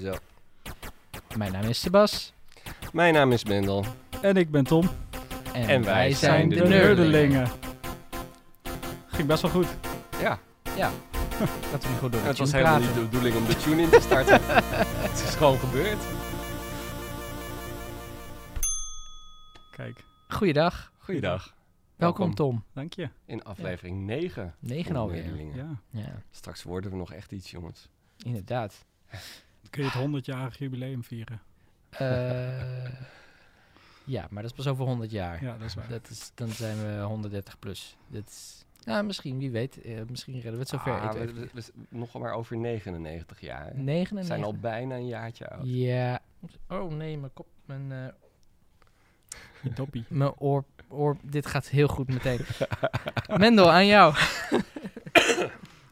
Zo. Mijn naam is Sebas. Mijn naam is Mendel. En ik ben Tom. En, En wij zijn de Nerdelingen. Ging best wel goed. Ja, Dat we niet goed door het de tune was helemaal niet praten. de bedoeling om de tune in te starten. het is gewoon gebeurd. Kijk, Goeiedag. Goeiedag. Welkom, Tom. dank je. In aflevering 9. 9 alweer. Ja. Ja, Straks worden we nog echt iets, jongens. inderdaad. Dan kun je het 100-jarig jubileum vieren. Eh, ja, maar dat is pas over 100 jaar. Ja, dat is waar. Dat is, dan zijn we 130 plus. Dat is, nou, misschien, wie weet. eh, misschien redden we het zover. Ah, Ik- we- we- we- nog maar over 99 jaar. We 99. zijn al bijna een jaartje oud. Ja. Oh nee, mijn kop, mijn, eh, Die Toppie. mijn oor, oor. Dit gaat heel goed meteen. Mendel, aan jou.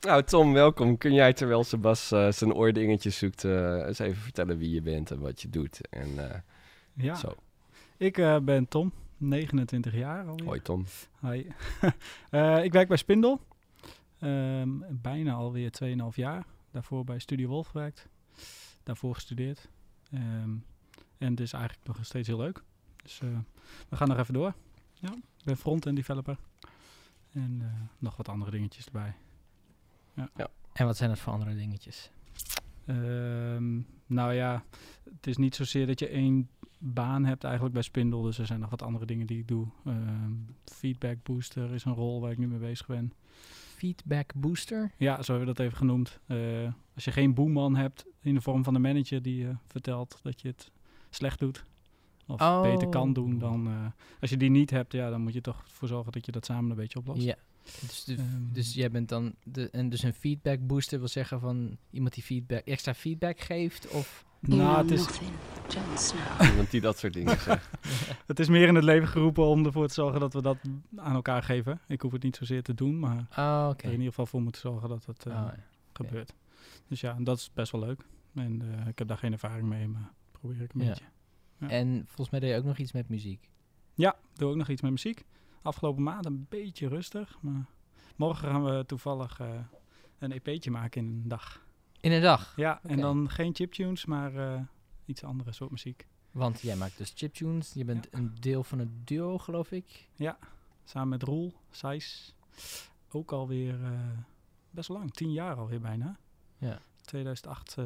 Nou, Tom, welkom. Kun jij terwijl Sebas eh, zijn oordingetjes zoekt, eh, eens even vertellen wie je bent en wat je doet? En eh, Ja, zo. ik eh, ben Tom, 29 jaar alweer. Hoi, Tom. Hi. Eh, ik werk bij Spindel. Ehm, bijna alweer 2,5 jaar. Daarvoor bij Studio Wolf gewerkt. Daarvoor gestudeerd. Ehm, en het is eigenlijk nog steeds heel leuk. Dus eh, we gaan nog even door. Ja, ik ben front-end developer. En eh, nog wat andere dingetjes erbij. En wat zijn dat voor andere dingetjes? Ehm, nou ja, het is niet zozeer dat je één baan hebt eigenlijk bij Spindel. Dus er zijn nog wat andere dingen die ik doe. Ehm, feedback booster is een rol waar ik nu mee bezig ben. Feedback booster. Ja, zo hebben we dat even genoemd. Eh, als je geen boeman hebt in de vorm van een manager die je vertelt dat je het slecht doet. Of Oh. beter kan doen dan. eh, als je die niet hebt, ja, dan moet je toch voor zorgen dat je dat samen een beetje oplost. Ja. Dus, de- Ehm, dus jij bent dan. De, en dus een feedback booster wil zeggen van iemand die feedback, extra feedback geeft. Of. nou, het is, Nothing, Jon Snow. Iemand die dat soort dingen zegt. het is meer in het leven geroepen om ervoor te zorgen dat we dat aan elkaar geven. Ik hoef het niet zozeer te doen, maar Oh, oké. er in ieder geval voor moeten zorgen dat het eh, Oh, ja. gebeurt. Dus ja, dat is best wel leuk. En eh, ik heb daar geen ervaring mee, maar probeer ik een Ja. beetje. Ja. En volgens mij deed je ook nog iets met muziek. Ja, doe ook nog iets met muziek. Afgelopen maand een beetje rustig, maar morgen gaan we toevallig eh, een EP'tje maken in een dag. In een dag. Ja, en Oké. dan geen chiptunes, maar eh, iets andere soort muziek. Want jij maakt dus chiptunes. Je bent een deel van het duo, geloof ik. Samen met Roel, Sijs, ook alweer eh, best lang, tien jaar alweer bijna. Ja. 2008 eh,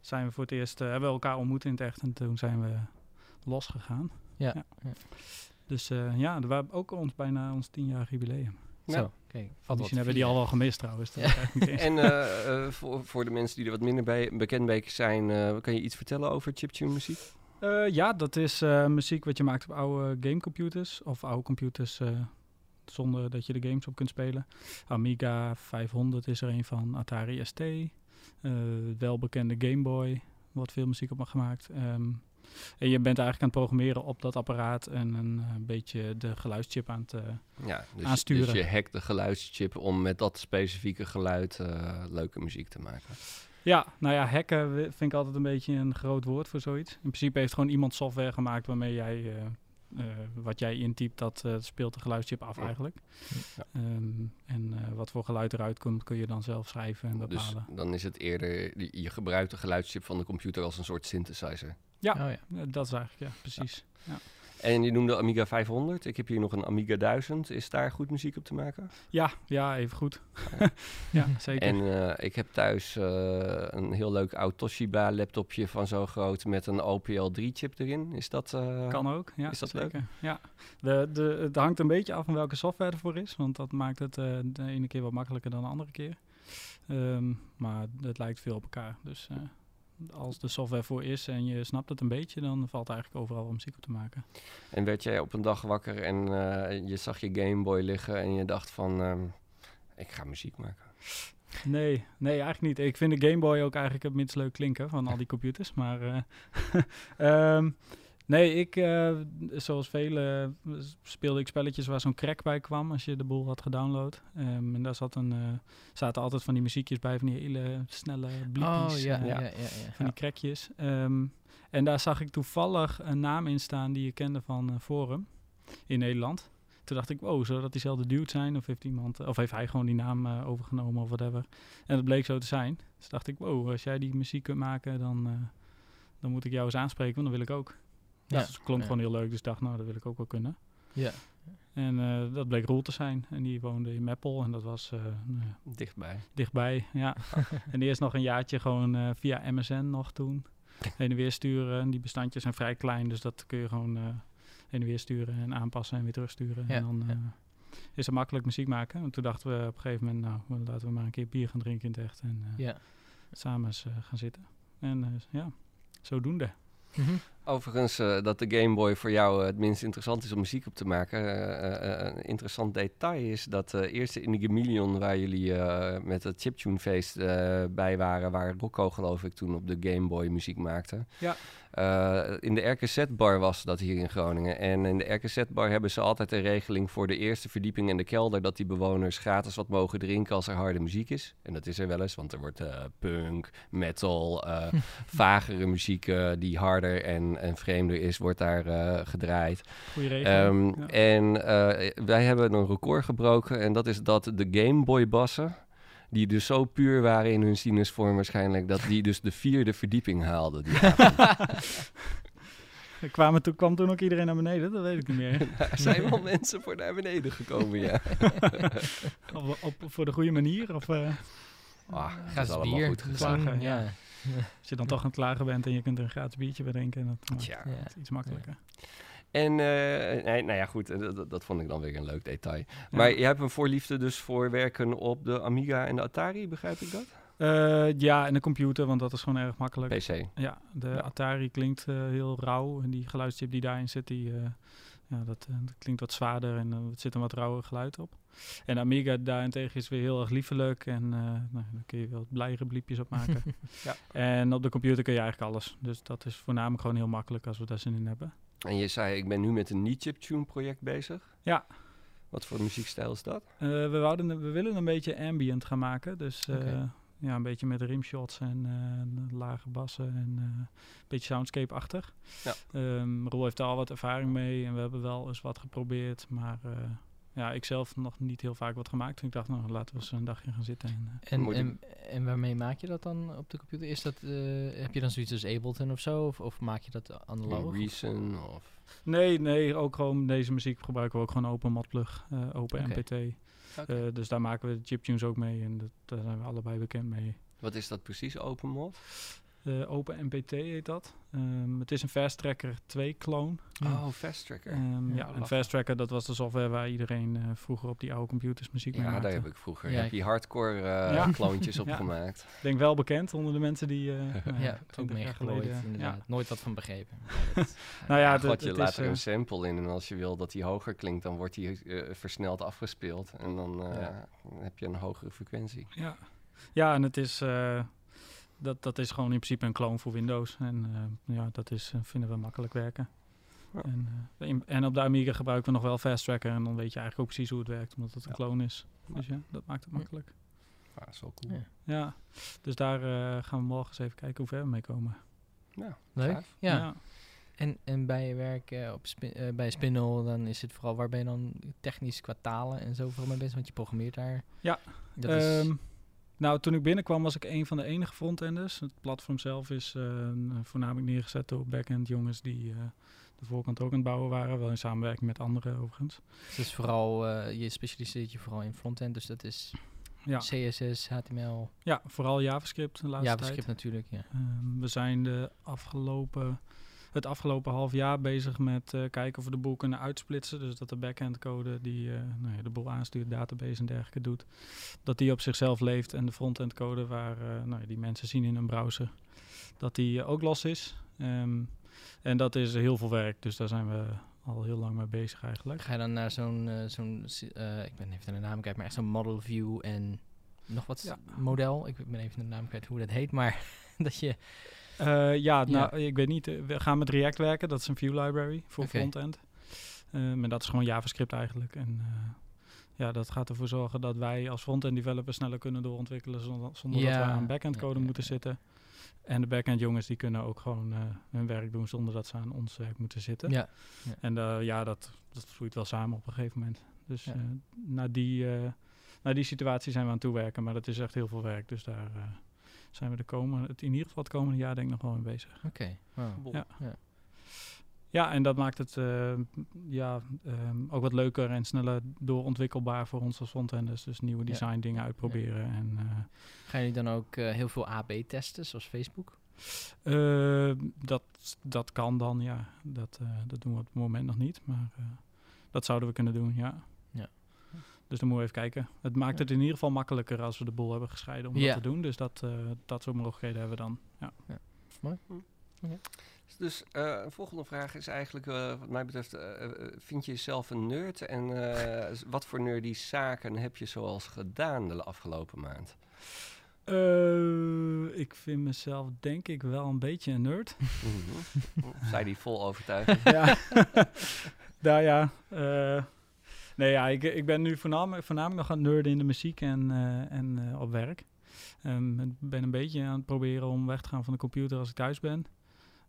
zijn we voor het eerst, eh, hebben we elkaar ontmoet in het echt en toen zijn we losgegaan. Ja, ja. Dus eh, ja, we hebben ook ons bijna ons tienjarig jubileum. Ja. Zo. Kijk, valt Misschien hebben we wat die al wel gemist trouwens. Ja. Dat weet ik eigenlijk niet eens. En eh, eh, voor, voor de mensen die er wat minder bij, bekend bij zijn, eh, kan je iets vertellen over chiptune muziek? Eh, ja, dat is eh, muziek wat je maakt op oude gamecomputers. Of oude computers eh, zonder dat je de games op kunt spelen. Amiga 500 is er een van. Atari ST. eh, welbekende Game Boy. Wordt veel muziek op me gemaakt. Ehm, en je bent eigenlijk aan het programmeren op dat apparaat. En een eh, beetje de geluidschip aan het... eh, Ja, dus, Aansturen. dus je hackt de geluidschip om met dat specifieke geluid eh, leuke muziek te maken. Ja, nou ja, hacken wi- vind ik altijd een beetje een groot woord voor zoiets. In principe heeft gewoon iemand software gemaakt waarmee jij eh, eh, wat jij intypt, dat eh, speelt de geluidschip af Ja. eigenlijk. Ja. Ehm, en eh, wat voor geluid eruit komt, kun je dan zelf schrijven en Dus bepalen. dan is het eerder, je- je gebruikt de geluidschip van de computer als een soort synthesizer. Ja. Oh ja. Eh, dat is eigenlijk, ja, precies. En je noemde Amiga 500. Ik heb hier nog een Amiga 1000. Is daar goed muziek op te maken? Ja, ja, even goed. ja, zeker. En eh, ik heb thuis eh, een heel leuk oud Toshiba laptopje van zo groot met een OPL3 chip erin. Is dat... eh, Kan ook, ja. Is dat zeker. Ja. De, de, het hangt een beetje af van welke software ervoor is, want dat maakt het eh, de ene keer wat makkelijker dan de andere keer. Ehm, maar het lijkt veel op elkaar. Dus eh, als de software voor is en je snapt het een beetje, dan valt eigenlijk overal wel muziek op te maken. En werd jij op een dag wakker en eh, je zag je Game Boy liggen en je dacht van, ehm, ik ga muziek maken. Nee, nee, eigenlijk niet. Ik vind de Game Boy ook eigenlijk het minst leuk klinken van al die computers. Maar eh, ehm, nee, ik, eh, zoals velen, eh, s- speelde ik spelletjes waar zo'n crack bij kwam als je de boel had gedownload. Ehm, en daar zat een, eh, zaten altijd van die muziekjes bij, van die hele snelle bliepjes. Oh ja, eh, ja, ja. ja, Van die crackjes. Ehm, en daar zag ik toevallig een naam in staan die je kende van eh, Forum in Nederland. Toen dacht ik, wow, zou dat diezelfde dude zijn? Of heeft, iemand, eh, of heeft hij gewoon die naam eh, overgenomen of whatever? En dat bleek zo te zijn. Dus dacht ik, wow, als jij die muziek kunt maken, dan, eh, dan moet ik jou eens aanspreken, want dat wil ik ook. Ja. Dus het klonk Ja. gewoon heel leuk, dus ik dacht, nou, dat wil ik ook wel kunnen. Ja. En eh, dat bleek Roel te zijn. En die woonde in Meppel en dat was eh, nou ja, Dichtbij. dichtbij, ja. en eerst nog een jaartje gewoon eh, via MSN nog toen. Heen en weer sturen. En die bestandjes zijn vrij klein, dus dat kun je gewoon eh, heen en weer sturen en aanpassen en weer terugsturen. Ja, en dan ja. eh, is het makkelijk muziek maken. Want toen dachten we op een gegeven moment, nou, wel, laten we maar een keer bier gaan drinken in het echt. En eh, Ja. samen eens eh, gaan zitten. En eh, ja, zodoende. Mhm. Overigens, eh, dat de Game Boy voor jou eh, het minst interessant is om muziek op te maken. eh, eh, een interessant detail is dat eh eerst in de Gameleon, waar jullie eh, met het Chiptune-feest eh, bij waren, waar Rocco geloof ik toen op de Game Boy muziek maakte. Ja. Eh, in de RKZ-bar was dat hier in Groningen. En in de RKZ-bar hebben ze altijd een regeling voor de eerste verdieping en de kelder, dat die bewoners gratis wat mogen drinken als er harde muziek is. En dat is er wel eens, want er wordt eh, punk, metal, eh, vagere muziek eh, die harder en, en vreemder is, wordt daar eh, gedraaid. Goeie regen. Ehm, ja. En eh, wij hebben een record gebroken en dat is dat de Game Boy bassen, die dus zo puur waren in hun sinusvorm waarschijnlijk, dat die dus de vierde verdieping haalden. Die Er kwamen, toen kwam toen ook iedereen naar beneden, dat weet ik niet meer. er zijn wel mensen voor naar beneden gekomen, ja. op, op- voor de goede manier. Of eh, Ah, dat Gratis is allemaal bier. goed dat is gegaan. dan- Ja. ja. als je dan toch aan het klagen bent en je kunt er een gratis biertje bij drinken. Dat maakt Tja. Ja. het iets makkelijker. En, eh, nee, nou ja, goed, eh, dat, dat vond ik dan weer een leuk detail. Maar je hebt een voorliefde dus voor werken op de Amiga en de Atari, begrijp ik dat? Eh, ja, en de computer, want dat is gewoon erg makkelijk. PC. Ja, de Ja. Atari klinkt eh, heel rauw. En die geluidstip die daarin zit, die, eh, ja, dat, eh, dat klinkt wat zwaarder en eh, er zit een wat rauwer geluid op. En de Amiga daarentegen is weer heel erg liefelijk. En eh, nou, daar kun je wel wat blijere bliepjes op maken. Ja. En op de computer kun je eigenlijk alles. Dus dat is voornamelijk gewoon heel makkelijk als we daar zin in hebben. En je zei, ik ben nu met een niet-chiptune project bezig. Ja. Wat voor muziekstijl is dat? Eh, we, wouden, we willen een beetje ambient gaan maken. Dus eh, Oké. ja, een beetje met rimshots en eh, lage bassen en eh, een beetje soundscape-achtig. Ja. Ehm, Roel heeft daar al wat ervaring mee en we hebben wel eens wat geprobeerd. Maar eh, ja, ik zelf nog niet heel vaak wat gemaakt. En ik dacht, nou, laten we eens een dagje gaan zitten. En, eh, En, Moet je- en, en waarmee maak je dat dan op de computer? Is dat, eh, heb je dan zoiets als Ableton of zo? Of, of maak je dat analoog? Reason of... nee, nee, ook gewoon deze muziek gebruiken we ook gewoon open modplug, eh, open Oké. MPT. Oké. Eh, dus daar maken we de chiptunes ook mee en dat, daar zijn we allebei bekend mee. Wat is dat precies, open mod? Eh, Open MPT heet dat. Ehm, het is een Fast Tracker 2 clone. Ja. Oh, Fast Tracker. Ehm, Ja, ja, en lachen. Fast Tracker, dat was de software waar iedereen eh, vroeger op die oude computers muziek mee ja, maakte. daar heb ik vroeger Ja, heb ik- je hardcore eh Ja. kloontjes op Ja. gemaakt. Denk wel bekend onder de mensen die eh nou, ja, ook 20 jaar meegeplooid, geleden. inderdaad. Ja. Nooit wat van begrepen. Maar dat- Nou ja, Ja, het- God, je het laat is, er eh, een dus. sample in en als je wil dat die hoger klinkt, dan wordt die eh, versneld afgespeeld. En dan eh, Ja. heb je een hogere frequentie. Ja, ja en het is, eh, dat, dat is gewoon in principe een clone voor Windows. En eh, ja, dat is, eh, vinden we makkelijk werken. Ja. En, eh, in- en op de Amiga gebruiken we nog wel Fast Tracker. En dan weet je eigenlijk ook precies hoe het werkt, omdat het een Ja. clone is. Dus ja, dat maakt het Ja. makkelijk. Ah, dat is wel cool. Ja. Ja, dus daar eh, gaan we morgen eens even kijken hoe ver we mee komen. Leuk. Gaaf. Ja. En, en bij je werk eh, op spin, eh, bij Spinol, dan is het vooral waar ben je dan technisch qua talen en zo vooral mee bezig? Want je programmeert daar. Ja, Dat is, Ehm, nou, toen ik binnenkwam was ik een van de enige frontenders. Het platform zelf is eh, voornamelijk neergezet door backend jongens die eh, de voorkant ook aan het bouwen waren. Wel in samenwerking met anderen overigens. het is vooral, eh, je specialiseert je vooral in frontend, dus dat is Ja, CSS, HTML, ja vooral JavaScript de laatste JavaScript natuurlijk. Ja. tijd. Ehm, we zijn de afgelopen, het afgelopen half jaar bezig met eh, kijken of we de boel kunnen uitsplitsen. Dus dat de backend code die eh, nou ja, de boel aanstuurt, database en dergelijke doet, dat die op zichzelf leeft. En de frontend code waar eh, nou ja, die mensen zien in een browser, dat die eh, ook los is. Ehm, en dat is heel veel werk, dus daar zijn we al heel lang mee bezig eigenlijk. Ga je dan naar zo'n, eh, zo'n si- eh, ik ben even naar de naam kwijt, maar echt zo'n model view en nog wat Ja. model. Ik ben even de naam kwijt hoe dat heet, maar dat je, Eh, ja, Ja. nou, ik weet niet. eh, We gaan met React werken. Dat is een view library voor Oké. frontend. Ehm en dat is gewoon JavaScript eigenlijk. En eh, ja, dat gaat ervoor zorgen dat wij als frontend developer sneller kunnen doorontwikkelen zonder, zonder dat Ja, we aan backend ja, code ja, moeten ja. zitten. En de backend jongens die kunnen ook gewoon eh, hun werk doen zonder dat ze aan ons werk moeten zitten. Ja. En eh, ja, dat, dat vloeit wel samen op een gegeven moment. Dus Ja. eh, naar, die, eh, naar die situatie zijn we aan het toewerken. Maar dat is echt heel veel werk. Dus daar eh, zijn we de komende, het, in ieder geval het komende jaar denk ik nog wel mee bezig. Oké. wow. Bol. Ja. Ja, en dat maakt het eh, ja, ehm, ook wat leuker en sneller doorontwikkelbaar voor ons als frontenders. Dus nieuwe Ja. design dingen uitproberen. En, eh, Gaan jullie dan ook eh, heel veel AB testen, zoals Facebook? eh, eh, dat, dat kan dan, ja. Dat, eh, dat doen we op het moment nog niet. Maar eh, dat zouden we kunnen doen, ja. Ja. Dus dan moeten we even kijken. Het maakt Ja. het in ieder geval makkelijker als we de boel hebben gescheiden om Ja. dat te doen. Dus dat, eh, dat soort mogelijkheden hebben we dan. Ja. Dus eh, een volgende vraag is eigenlijk, eh, wat mij betreft, eh, eh, vind je jezelf een nerd? En eh, s- wat voor nerdy zaken heb je zoals gedaan de afgelopen maand? Eh, ik vind mezelf denk ik wel een beetje een nerd. Mhm. Zei die vol overtuiging. ja. nou ja. eh, nee, ja, ik, ik ben nu voornamelijk, voornamelijk nog aan het nerden in de muziek en, eh, en eh, op werk. Ehm, ik ben een beetje aan het proberen om weg te gaan van de computer als ik thuis ben.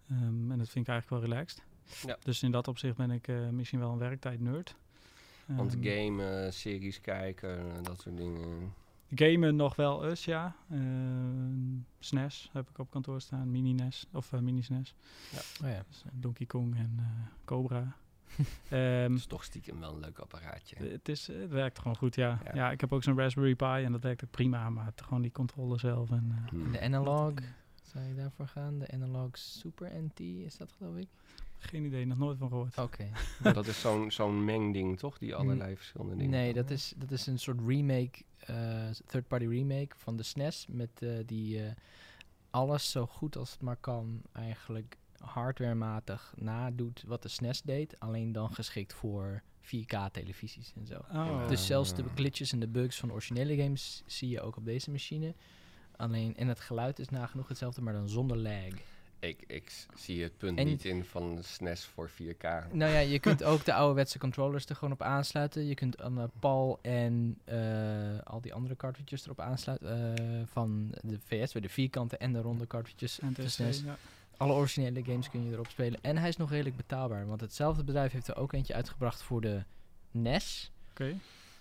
Ehm, en dat vind ik eigenlijk wel relaxed. Ja. Dus in dat opzicht ben ik eh, misschien wel een werktijd nerd. Want Ehm, gamen, series kijken, eh, dat soort dingen. Gamen nog wel eens, ja. Eh, SNES E heb ik op kantoor staan, mini-NES of eh, mini-SNES. Oh ja. Dus, eh, Donkey Kong en eh, Cobra. Ehm, Dat is toch stiekem wel een leuk apparaatje. Eh, Het, is, het werkt gewoon goed, ja. Ja. ja. ik heb ook zo'n Raspberry Pi en dat werkt ook prima, maar het, gewoon die controle zelf. En, eh, Hmm. De analog, zou je daarvoor gaan? De analog Super NT is dat geloof ik? geen idee, nog nooit van gehoord. Oké. Maar dat is zo'n zo'n mengding, toch? Die allerlei verschillende dingen. Nee, kan. dat is, dat is een soort remake, eh, third-party remake van de SNES. Met eh, die eh, alles zo goed als het maar kan eigenlijk hardwarematig nadoet wat de SNES deed. Alleen dan geschikt voor 4K-televisies en zo. Ja. Oh. Dus zelfs de Ah. glitches en de bugs van de originele games zie je ook op deze machine. Alleen, en het geluid is nagenoeg hetzelfde, maar dan zonder lag. Ik, ik s- zie het punt En- niet in van SNES E voor 4K. Nou ja, je kunt ook de ouderwetse controllers er gewoon op aansluiten. Je kunt aan eh, PAL en eh, al die andere cartridges erop aansluiten. eh, van de VS, bij de vierkante en de ronde cartridges. en het Dus is, dat is- eh, ja. Alle originele games kun je erop spelen. En hij is nog redelijk betaalbaar. Want hetzelfde bedrijf heeft er ook eentje uitgebracht voor de NES. Oké.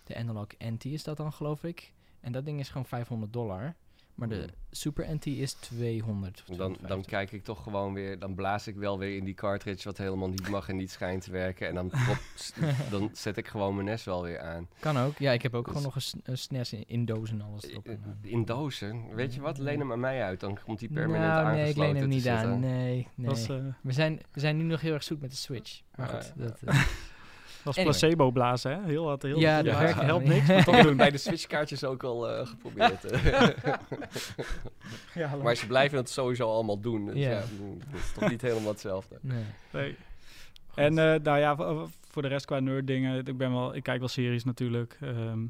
De Analog NT is dat dan, geloof ik. En dat ding is gewoon 500 dollar. Maar de Hmm. Super NT is 200. of Dan, dan 250. kijk ik toch gewoon weer, dan blaas ik wel weer in die cartridge wat helemaal niet mag en niet schijnt te werken. En dan, plopt- dan zet ik gewoon mijn NES wel weer aan. Kan ook. Ja, ik heb ook Dus- gewoon nog een, s- een SNES in, in doos en alles erop. en eh. aan. Eh, In dozen. Weet je wat? Leen hem aan mij uit, dan komt die permanent nou, aangesloten nee, ik leen hem te niet zitten. aan. Nee, nee. Dat is, eh, we, zijn, we zijn nu nog heel erg zoet met de Switch. Maar Ah, goed, ja. dat, eh, dat is Anyway. placebo blazen, hè? Heel wat, heel Ja, ja, dat werkt werkt helpt niet. niks, maar Ik toch heb doen. het bij de switchkaartjes ook al eh, geprobeerd. Ja, maar ze blijven het sowieso allemaal doen. Dus Ja. ja, het is toch niet helemaal hetzelfde. nee. nee. En eh, nou ja, voor, voor de rest qua nerd dingen, ik, ben wel, ik kijk wel series natuurlijk. Ehm,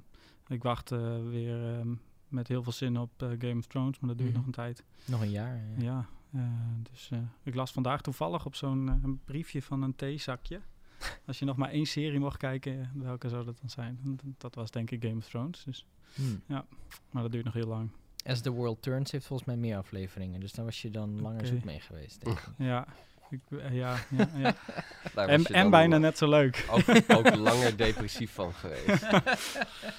ik wacht eh, weer ehm, met heel veel zin op eh, Game of Thrones, maar dat duurt Mhm. nog een tijd. Nog een jaar. ja. Ja, eh, dus eh, ik las vandaag toevallig op zo'n eh, een briefje van een theezakje. Als je nog maar één serie mag kijken, eh, welke zou dat dan zijn? Want Dat was denk ik Game of Thrones, dus, Hmm. maar dat duurt nog heel lang. As the World Turns heeft volgens mij meer afleveringen. Dus daar was je dan langer Oké. zoet mee geweest. Denk ik. Ja, ik, eh, ja, ja, ja. Daar was En, je en dan bijna net zo leuk. Ook, ook langer depressief van geweest.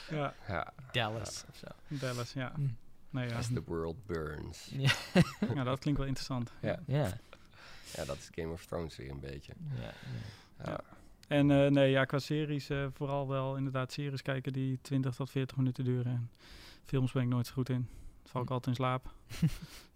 Ja, Ja, Dallas of zo. Dallas, ja. Hmm. Nee, ja. as the world burns. ja, dat klinkt wel interessant. Ja. Ja. Ja, dat is Game of Thrones weer een beetje. ja, ja. Ja. En eh, nee, ja, qua series, eh, vooral wel inderdaad series kijken die 20 tot 40 minuten duren. En films ben ik nooit zo goed in. Dan val ik Hm. altijd in slaap.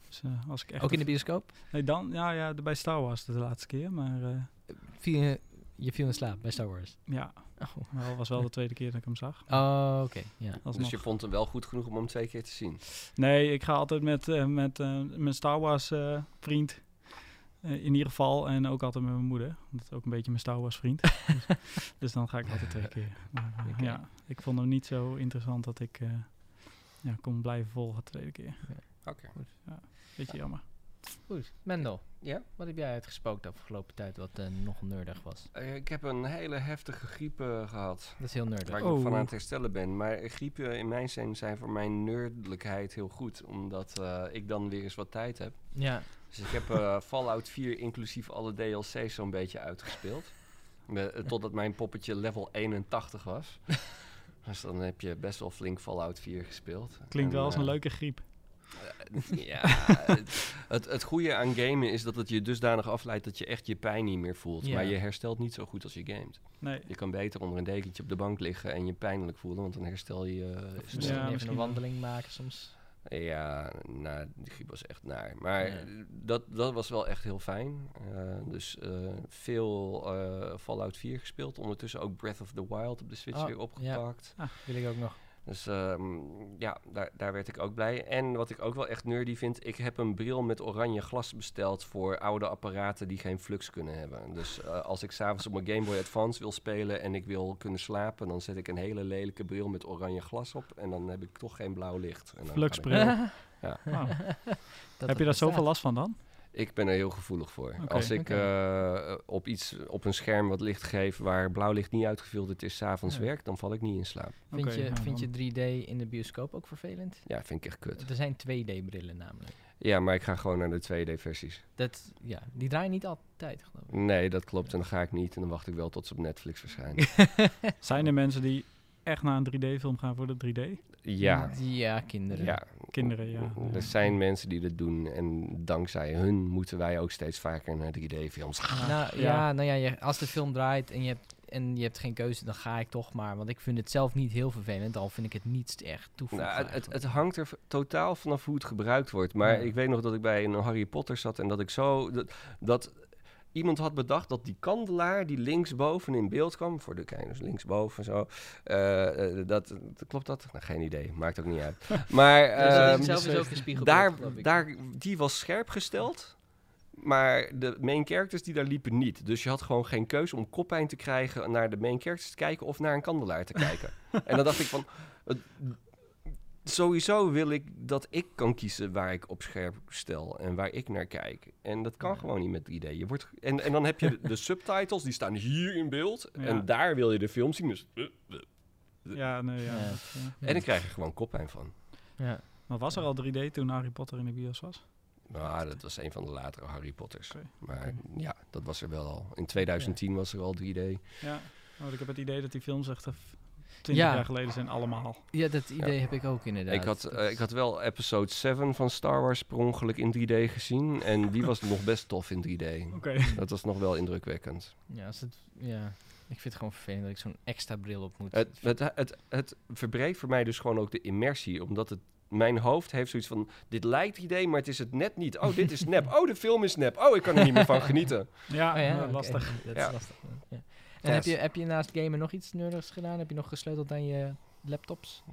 dus eh, als ik echt Ook in een de bioscoop? Nee, dan, ja, ja, de- bij Star Wars de laatste keer, maar eh, Viel je, je viel in slaap bij Star Wars. ja, Oh, wel was wel de tweede keer dat ik hem zag. Oh, oké. Ja. Ah, Dus Alsnog. je vond hem wel goed genoeg om hem twee keer te zien. Nee, ik ga altijd met, eh, met eh, mijn Star Wars eh, vriend, eh, in ieder geval, en ook altijd met mijn moeder, want dat is ook een beetje mijn Star Wars vriend. dus, dus dan ga ik altijd twee keer. Maar, eh, Oké. ja, ik vond hem niet zo interessant dat ik eh, ja, kon blijven volgen de tweede keer. Oké. Beetje jammer. Goed, Mendel. Ja? Wat heb jij uitgespookt de afgelopen tijd wat eh, nog nerdig was? Eh, ik heb een hele heftige griep eh, gehad. Dat is heel nerdig. Waar ik Oh. nog van aan het herstellen ben. Maar griepen in mijn zin zijn voor mijn nerdelijkheid heel goed. Omdat eh, ik dan weer eens wat tijd heb. Ja, Dus ik heb eh, Fallout 4 inclusief alle DLC's zo'n beetje uitgespeeld. Me- eh, totdat mijn poppetje level 81 was. Dus dan heb je best wel flink Fallout 4 gespeeld. Klinkt En, wel als een eh, leuke griep. Ja, het, het, het goede aan gamen is dat het je dusdanig afleidt dat je echt je pijn niet meer voelt. Ja. Maar je herstelt niet zo goed als je gamet. Nee. Je kan beter onder een dekentje op de bank liggen en je pijnlijk voelen, want dan herstel je. eh, of sneller. Dus misschien even misschien een wel. wandeling maken soms. Ja, nou, die griep was echt naar. Maar Ja. dat, dat was wel echt heel fijn. Eh, dus eh, veel eh, Fallout 4 gespeeld. Ondertussen ook Breath of the Wild op de Switch Oh, weer opgepakt. Wil ik ook nog. Dus ehm, ja, daar, daar werd ik ook blij. En wat ik ook wel echt nerdy vind... ik heb een bril met oranje glas besteld... voor oude apparaten die geen flux kunnen hebben. Dus eh, als ik s'avonds op mijn Game Boy Advance wil spelen... en ik wil kunnen slapen... dan zet ik een hele lelijke bril met oranje glas op... en dan heb ik toch geen blauw licht. En dan kan ik- Fluxbril. Ja. Wauw. Dat Oh. Heb je dat daar zoveel bestaat. last van dan? Ik ben er heel gevoelig voor. Oké. Als ik Oké. eh, op iets op een scherm wat licht geef waar blauw licht niet uitgefilterd is, s'avonds Ja. werkt, dan val ik niet in slaap. Vind, Oké, je, nou, vind dan- je 3D in de bioscoop ook vervelend? Ja, vind ik echt kut. Er zijn 2D-brillen namelijk. Ja, maar ik ga gewoon naar de 2D-versies. Dat, ja, die draaien niet altijd, geloof ik. Nee, dat klopt. En dan ga ik niet. En dan wacht ik wel tot ze op Netflix verschijnen. Zijn er mensen die echt naar een 3D-film gaan voor de 3D? ja. Ja, kinderen. ja. Kinderen, ja. Er zijn mensen die dat doen. En dankzij hun moeten wij ook steeds vaker naar 3D-films. Nou, ja. Ja. nou ja, je- als de film draait en je, hebt, en je hebt geen keuze, dan ga ik toch maar. Want ik vind het zelf niet heel vervelend, al vind ik het niet echt toevoegen. Nou, het, het, het eigenlijk. hangt er v- totaal vanaf hoe het gebruikt wordt. Maar Ja. ik weet nog dat ik bij een Harry Potter zat en dat ik zo. Dat, dat iemand had bedacht dat die kandelaar die linksboven in beeld kwam. Voor de kijkers linksboven zo. eh, eh, dat, klopt dat? Nou, geen idee. Maakt ook niet uit. maar Ja, dat ehm, is zelf dus, is ook een spiegelbeeld, daar, geloof ik. daar, die was scherp gesteld. Maar de main characters die daar liepen niet. Dus je had gewoon geen keuze om koppijn te krijgen naar de main characters te kijken of naar een kandelaar te kijken. en dan dacht ik van. het- sowieso wil ik dat ik kan kiezen waar ik op scherp stel en waar ik naar kijk. En dat kan Ja. gewoon niet met 3D. Je wordt, en, en dan heb je de, de subtitles, die staan hier in beeld. Ja. En daar wil je de film zien. Dus, Ja, nee, ja. Ja. dat, ja. En dan krijg je gewoon koppijn van. Ja. Maar was er al 3D toen Harry Potter in de bios was? Nou, dat was een van de latere Harry Potters. Oké. Maar ja, dat was er wel al. In 2010 was er al 3D. Ja, want ik heb het idee dat die films echt eh, 20 Ja. jaar geleden zijn allemaal. ja, dat idee heb ik ook inderdaad. Ik had, Dat eh, is- ik had wel episode 7 van Star Wars per ongeluk in 3D gezien. En die was nog best tof in 3D. Oké. Dat was nog wel indrukwekkend. Ja, als het, ja, ik vind het gewoon vervelend dat ik zo'n extra bril op moet. Het, het, het, het verbreedt voor mij dus gewoon ook de immersie. Omdat het, mijn hoofd heeft zoiets van... Dit lijkt idee, maar het is het net niet. Oh, dit is nep. Oh, de film is nep. Oh, ik kan er niet meer van genieten. Ja, Oh ja, eh, oké. lastig. Dat Ja. is lastig. ja. Ja. En heb, Yes. je, heb je naast gamen nog iets nerdigs gedaan? Heb je nog gesleuteld aan je laptops?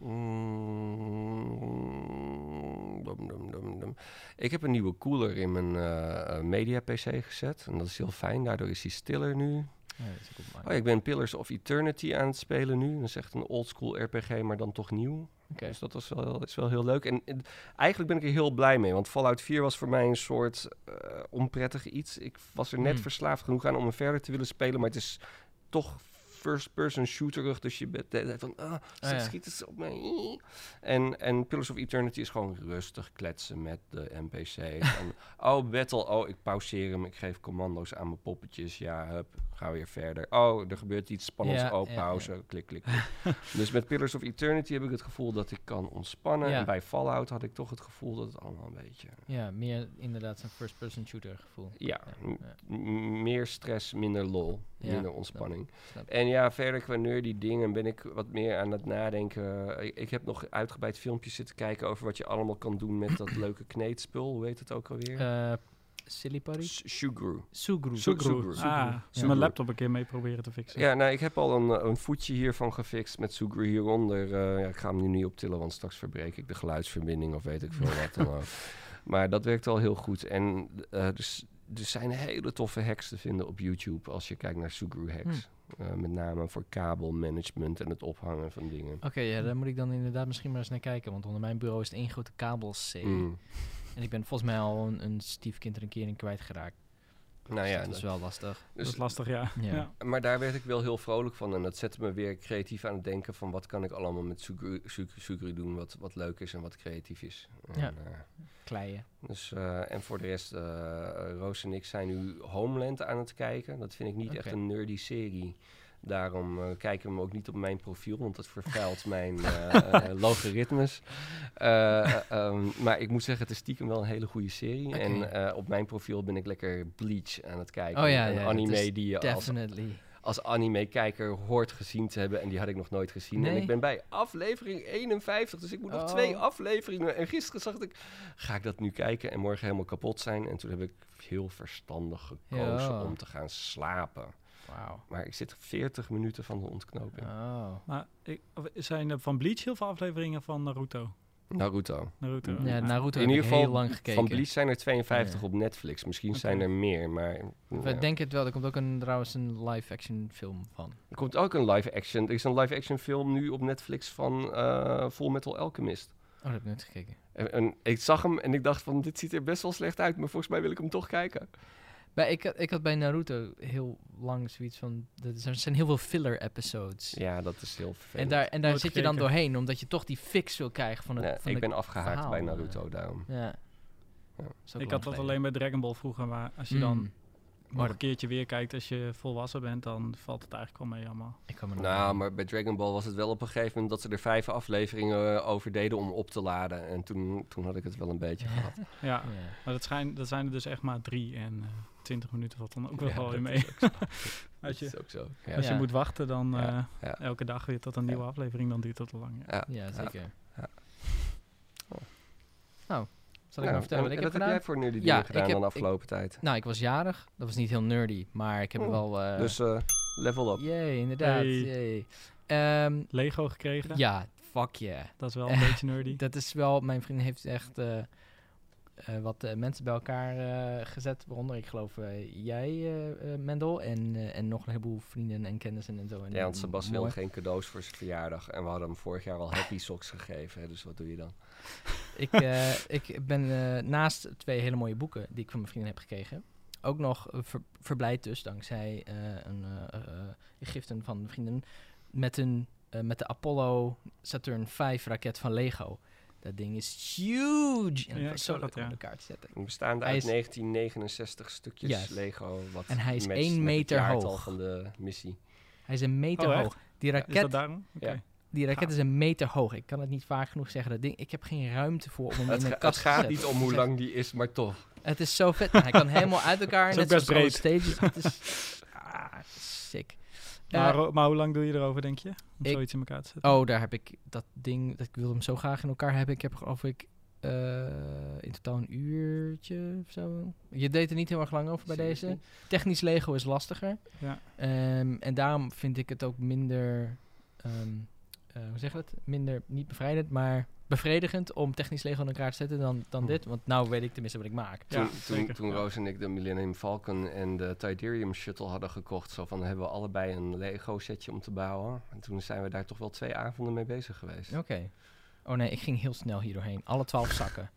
Mm, dum, dum, dum, dum. Ik heb een nieuwe cooler in mijn eh, eh, media-pc gezet. En dat is heel fijn. Daardoor is hij stiller nu. Ja, dat is ook op Oh, ik ben Pillars of Eternity aan het spelen nu. Dat is echt een oldschool RPG, maar dan toch nieuw. Oké. Dus dat was wel, is wel heel leuk. En, eh, eigenlijk ben ik er heel blij mee. Want Fallout 4 was voor mij een soort eh, onprettig iets. Ik was er net Hmm. verslaafd genoeg aan om hem verder te willen spelen. Maar het is toch first-person shooterig. Dus je bent de hele tijd van... Ah, ze ja. schieten ze op mij. En, en Pillars of Eternity is gewoon rustig kletsen met de NPC. van, oh, battle. Oh, ik pauzeer hem. Ik geef commando's aan mijn poppetjes. Ja, hup. Ga weer verder. Oh, er gebeurt iets spannends. Ja, oh, ja, pauze. Klik, klik, klik. dus met Pillars of Eternity heb ik het gevoel dat ik kan ontspannen. Ja. En bij Fallout had ik toch het gevoel dat het allemaal een beetje... Ja, meer inderdaad zo'n first-person shooter gevoel. Ja, Ja, ja. m- meer stress, minder lol, Ja, minder ontspanning. snap ik. En ja, verder qua nerdy dingen ben ik wat meer aan het nadenken. Ik, ik heb nog uitgebreid filmpjes zitten kijken over wat je allemaal kan doen met dat leuke kneedspul. Hoe heet het ook alweer? Eh, Silly Putty? S- Sugru. Sugru. Sugru. Sugru. Ah, Sugru. mijn laptop een keer mee proberen te fixen. Ja, nou, ik heb al een, een voetje hiervan gefixt met Sugru hieronder. Eh, ja, ik ga hem nu niet optillen, want straks verbreek ik de geluidsverbinding of weet ik veel wat dan ook. Maar dat werkt al heel goed. En eh, dus, er zijn hele toffe hacks te vinden op YouTube als je kijkt naar Sugru hacks. Hmm. Eh, met name voor kabelmanagement en het ophangen van dingen. Oké, ja, daar moet ik dan inderdaad misschien maar eens naar kijken. Want onder mijn bureau is het één grote kabelzee. Mm. En ik ben volgens mij al een, een stiefkind er een keer in kwijtgeraakt. Nou Dus ja, dat is dat- wel lastig. Dat dus, is lastig, ja. Ja. ja. maar daar werd ik wel heel vrolijk van. En dat zette me weer creatief aan het denken van wat kan ik allemaal met Sugru, Sugru- Sugru doen wat, wat leuk is en wat creatief is. En, Ja. eh, Kleien. Dus, eh, en voor de rest, eh, Roos en ik zijn nu Homeland aan het kijken. Dat vind ik niet echt Oké. een nerdy serie. Daarom eh, kijken we hem ook niet op mijn profiel, want dat vervuilt mijn eh, eh, logaritmes. Eh, eh, ehm, maar ik moet zeggen, het is stiekem wel een hele goede serie. Oké. En eh, op mijn profiel ben ik lekker Bleach aan het kijken. Oh ja, een ja, dat anime is die je als, Definitely. als anime-kijker hoort gezien te hebben. En die had ik nog nooit gezien. En Nee. ik ben bij aflevering 51, dus ik moet nog Oh. twee afleveringen. En gisteren zag ik, ga ik dat nu kijken en morgen helemaal kapot zijn? En toen heb ik heel verstandig gekozen Ja. om te gaan slapen. Wauw. Maar ik zit 40 minuten van de ontknoping. Oh. Maar ik, of zijn er van Bleach heel veel afleveringen van Naruto? Naruto. Naruto. Ja, Naruto In heb ieder ik heel geval lang gekeken. Van Bleach zijn er 52 Ja. op Netflix. Misschien Oké. zijn er meer, maar... We ja. denken het wel. Er komt ook een, trouwens een live-action film van. Oh, Er komt ook een live-action. Er is een live-action film nu op Netflix van eh Full Metal Alchemist. Oh, dat heb ik nooit gekeken. En, en ik zag hem en ik dacht van, dit ziet er best wel slecht uit, maar volgens mij wil ik hem toch kijken. Bij, ik, had- ik had bij Naruto heel lang zoiets van... dat is- Er zijn heel veel filler-episodes. Ja, dat is heel vervelend. en daar, en daar Nooit zit je dan gekeken. doorheen, omdat je toch die fix wil krijgen van het... Nee, van ik de- ben afgehaakt verhaal, bij eh. Naruto, daarom. Ja. Ja. Is ook Ik lang had dat geleden. alleen bij Dragon Ball vroeger, maar als je Mm. Oh, dan nog Maar een keertje weer kijkt als je volwassen bent, dan valt het eigenlijk wel mee allemaal. ik kan me nog Nou, herinneren. maar bij Dragon Ball was het wel op een gegeven moment dat ze er vijf afleveringen eh, over deden om op te laden. En toen, toen had ik het wel een beetje Ja. gehad. Ja, Ja. maar dat, schijn, dat zijn er dus echt maar drie en eh, 20 minuten valt dan ook wel Ja, wel weer dat mee. is ook zo. Dat Als je, is ook zo. Ja. als je Ja. moet wachten, dan Ja, eh, ja. elke dag weer tot een nieuwe aflevering, dan duurt dat te lang. Ja. Ja. Ja, zeker. Ja. Oh. Nou, zal ik Nou, maar vertellen en wat ik heb dat heb gedaan? jij voor nu die Ja, dingen ik gedaan heb- dan de ik- afgelopen tijd. Nou, ik was jarig. Dat was niet heel nerdy, maar ik heb er Oh, wel... eh, Dus eh, level up. Jee, inderdaad. Hey. Jee. Ehm, Lego gekregen, ja, fuck yeah. dat is wel een beetje nerdy. Dat is wel... Mijn vriend heeft echt eh, eh, wat eh, mensen bij elkaar eh, gezet. Waaronder, ik geloof, eh, jij, eh, eh, Mendel. En, eh, en nog een heleboel vrienden en kennissen en zo. En Ja, want Sebas wil mooi. geen cadeaus voor zijn verjaardag. En we hadden hem vorig jaar al happy socks gegeven. hè, Dus wat doe je dan? ik, eh, ik ben eh, naast twee hele mooie boeken die ik van mijn vrienden heb gekregen. Ook nog eh, ver- verblijd dus dankzij eh, een eh, eh, giften van vrienden met, een, eh, met de Apollo Saturn 5 raket van Lego. Dat ding is huge! En Ja, dat ik was zo leuk zag dat, om ja. op elkaar te zetten. Bestaande Hij uit is- 1969 stukjes Juist. Lego. Wat En hij is matcht één met het meter jaartal hoog. van de missie. Hij is een meter Oh, echt? hoog. Die Is dat raket, daarom? Oké. Ja. die raket Gaaf. is een meter hoog. Ik kan het niet vaak genoeg zeggen. Dat ding, ik heb geen ruimte voor om hem Het, in ga- een het kast te gaat zetten. niet om hoe Zeg, lang die is, maar toch. Het is zo vet. Hij kan helemaal uit elkaar. Is Net ook best zoals alle stages. Het is ah, sick. Maar, Eh, ho- maar hoe lang doe je erover, denk je? Om Ik- zoiets in elkaar te zetten? oh, daar heb ik dat ding. Dat, ik wilde hem zo graag in elkaar hebben. Ik heb geloof ik eh, in totaal een uurtje of zo. Je deed er niet heel erg lang over bij deze. Technisch Lego is lastiger. Ja. Ehm, en daarom vind ik het ook minder. ehm, eh, hoe zeg je dat? Minder niet bevrijdend, maar bevredigend om technisch Lego in elkaar te zetten dan, dan Hm. dit. Want nou weet ik tenminste wat ik maak. Toen, Ja, toen, zeker. toen Ja. Roos en ik de Millennium Falcon en de Tiderium Shuttle hadden gekocht, zo van hebben we allebei een Lego setje om te bouwen. En toen zijn we daar toch wel twee avonden mee bezig geweest. Oké. Oh nee, ik ging heel snel hier doorheen. Alle twaalf zakken.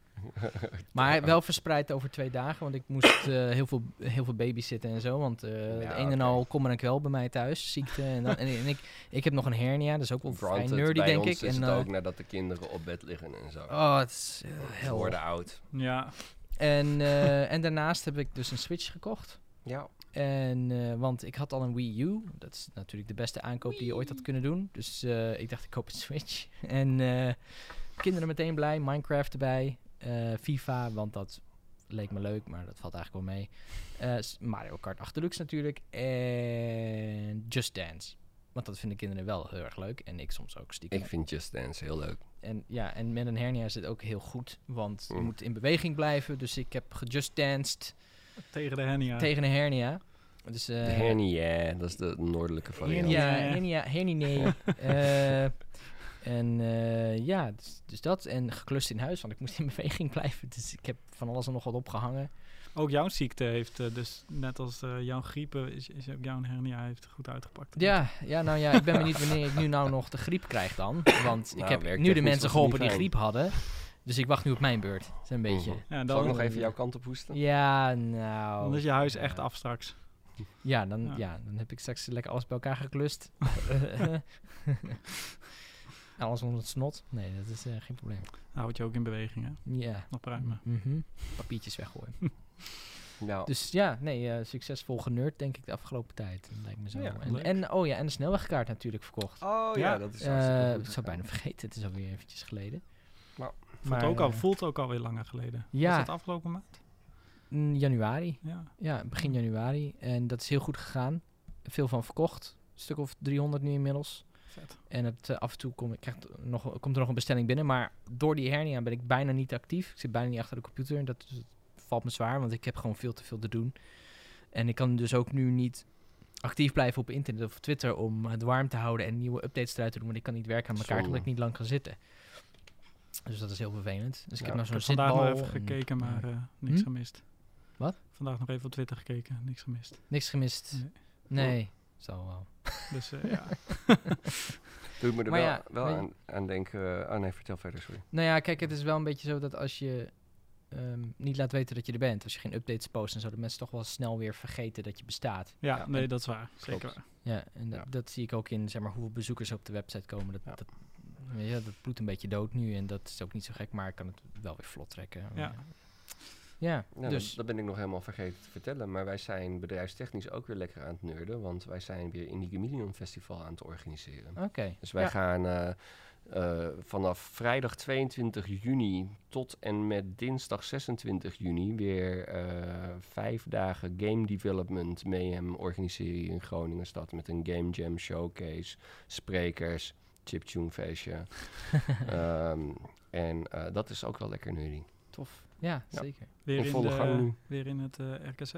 maar wel verspreid over twee dagen, want ik moest eh, heel, veel, heel veel babysitten en zo. Want eh de een en oké. al kom en ik wel bij mij thuis, ziekte. En, dan, en, en ik, ik heb nog een hernia, dat is ook wel vrij Granted, nerdy, bij denk ons ik. is en, het eh, ook nadat de kinderen op bed liggen en zo. oh, het is eh, Ze hel. worden oud. Ja, En, eh, en daarnaast heb ik dus een Switch gekocht. Ja, En, eh, want ik had al een Wii U. Dat is natuurlijk de beste aankoop die je ooit had kunnen doen. Dus eh, ik dacht, ik koop een Switch. En eh, kinderen meteen blij, Minecraft erbij, eh, FIFA, want dat leek me leuk, maar dat valt eigenlijk wel mee. Eh, s- Mario Kart 8 Deluxe natuurlijk. En Just Dance. Want dat vinden kinderen wel heel erg leuk. En ik soms ook stiekem. ik vind Just Dance heel leuk. En ja, en met een hernia is het ook heel goed. Want je Mm. moet in beweging blijven. Dus ik heb gejust danced tegen de hernia. tegen een hernia. Dus, eh, de hernia, dat is de noordelijke variant. Ja, Nee. hernia, hernia, Eh En eh, ja, dus, dus dat. En geklust in huis, want ik moest in beweging blijven. Dus ik heb van alles en nog wat opgehangen. Ook jouw ziekte heeft, eh, dus net als eh, jouw griepen, is, is ook jouw hernia heeft goed uitgepakt. Ja, ja, nou ja, ik ben benieuwd wanneer ik nu nou nog de griep krijg dan. Want ik Nou, heb werkt nu de technisch was het mensen geholpen niet die fijn. griep hadden. Dus ik wacht nu op mijn beurt. Dat is een beetje... Mhm. Ja, Zal ik dan, nog even jouw kant op hoesten? Ja, nou... dan is je huis echt ja. af straks. Ja dan, Ja. ja. dan heb ik straks lekker alles bij elkaar geklust. alles onder het snot. Nee, dat is eh, geen probleem. Dan houd je ook in beweging, hè? Ja. Nog pruimen. Mhm. Papiertjes weggooien. Nou, Dus ja, nee, eh, succesvol generd denk ik de afgelopen tijd. Lijkt me zo. Ja, en, leuk. en, oh ja, en de snelwegkaart natuurlijk verkocht. oh ja, Ja. dat is hartstikke Eh, goed ik zou bijna gegaan. vergeten, het is alweer eventjes geleden. Nou, Voelt ook, al, eh, voelt ook alweer langer geleden. Ja. Was dat afgelopen maand? mm, januari. Ja. Ja, begin januari. En dat is heel goed gegaan. Veel van verkocht. Een stuk of 300 nu inmiddels. Vet. Nou, En het, eh, af en toe kom, ik krijg t- nog, komt er nog een bestelling binnen. Maar door die hernia ben ik bijna niet actief. Ik zit bijna niet achter de computer. En dat is- valt me zwaar, want ik heb gewoon veel te veel te doen. En ik kan dus ook nu niet actief blijven op internet of Twitter om het warm te houden en nieuwe updates eruit te doen. Want ik kan niet werken aan elkaar, Zonde. omdat ik niet lang kan zitten. Dus dat is heel vervelend. Dus ik Ja, heb nou Ik zo'n heb vandaag nog zitbal even en gekeken, maar eh, niks Hm? gemist. Wat? Vandaag nog even op Twitter gekeken, niks gemist. Niks gemist. eh, Nee. Nee, zal wel. Dus eh, ja, Doe me Maar er wel, ja, wel weet je- aan, aan denken. eh, oh nee, vertel verder, sorry. Nou ja, kijk, het is wel een beetje zo dat als je ehm, niet laat weten dat je er bent, als je geen updates post en zo, dat mensen toch wel snel weer vergeten dat je bestaat. ja, Ja, nee, en- dat is waar. Zeker waar. Ja, en dat, Ja. dat zie ik ook in zeg maar, hoeveel bezoekers op de website komen. Dat, Ja. dat, weet je, dat bloedt een beetje dood nu en dat is ook niet zo gek, maar ik kan het wel weer vlot trekken. Ja. Ja, Ja, dus dat, dat Nou, ben ik nog helemaal vergeten te vertellen. Maar wij zijn bedrijfstechnisch ook weer lekker aan het nerden. Want wij zijn weer Indie Medium Festival aan het organiseren. oké. Dus wij Ja. gaan eh, eh, vanaf vrijdag 22 juni tot en met dinsdag 26 juni weer eh, vijf dagen game development mayhem organiseren hier in Groningen stad met een game jam showcase, sprekers, chiptune feestje. Ehm, en eh, dat is ook wel lekker nerding. Tof. Ja, Ja. zeker. In Weer in, volle de- gang nu. weer in het eh, RKZ.